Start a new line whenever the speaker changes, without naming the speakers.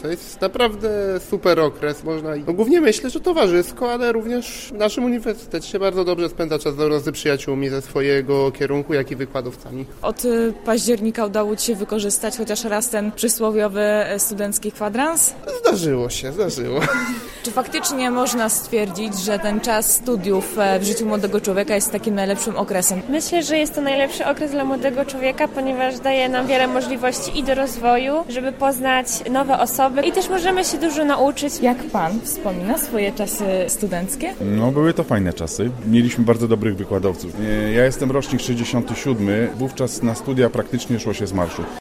To jest naprawdę super okres, można... No głównie myślę, że towarzysko, ale również w naszym uniwersytecie bardzo dobrze spędza czas zarówno z przyjaciółmi ze swojego kierunku, jak i wykładowcami.
Od y, października udało Ci się wykorzystać chociaż raz ten przysłowiowy e, studencki kwadrans?
Zdarzyło się, zdarzyło.
Czy faktycznie można stwierdzić, że ten czas studiów e, w życiu młodego człowieka jest takim najlepszym okresem?
Myślę, że jest to najlepszy okres dla młodego człowieka, ponieważ daje nam wiele możliwości i do rozwoju, żeby poznać nowe osoby i też możemy się dużo nauczyć.
Jak Pan wspomina swoje czasy studenckie?
No, były to fajne czasy. Mieliśmy bardzo dobrych wykładowców. E, Ja jestem rocznik 67. Wówczas na studia praktycznie szło się z marszu.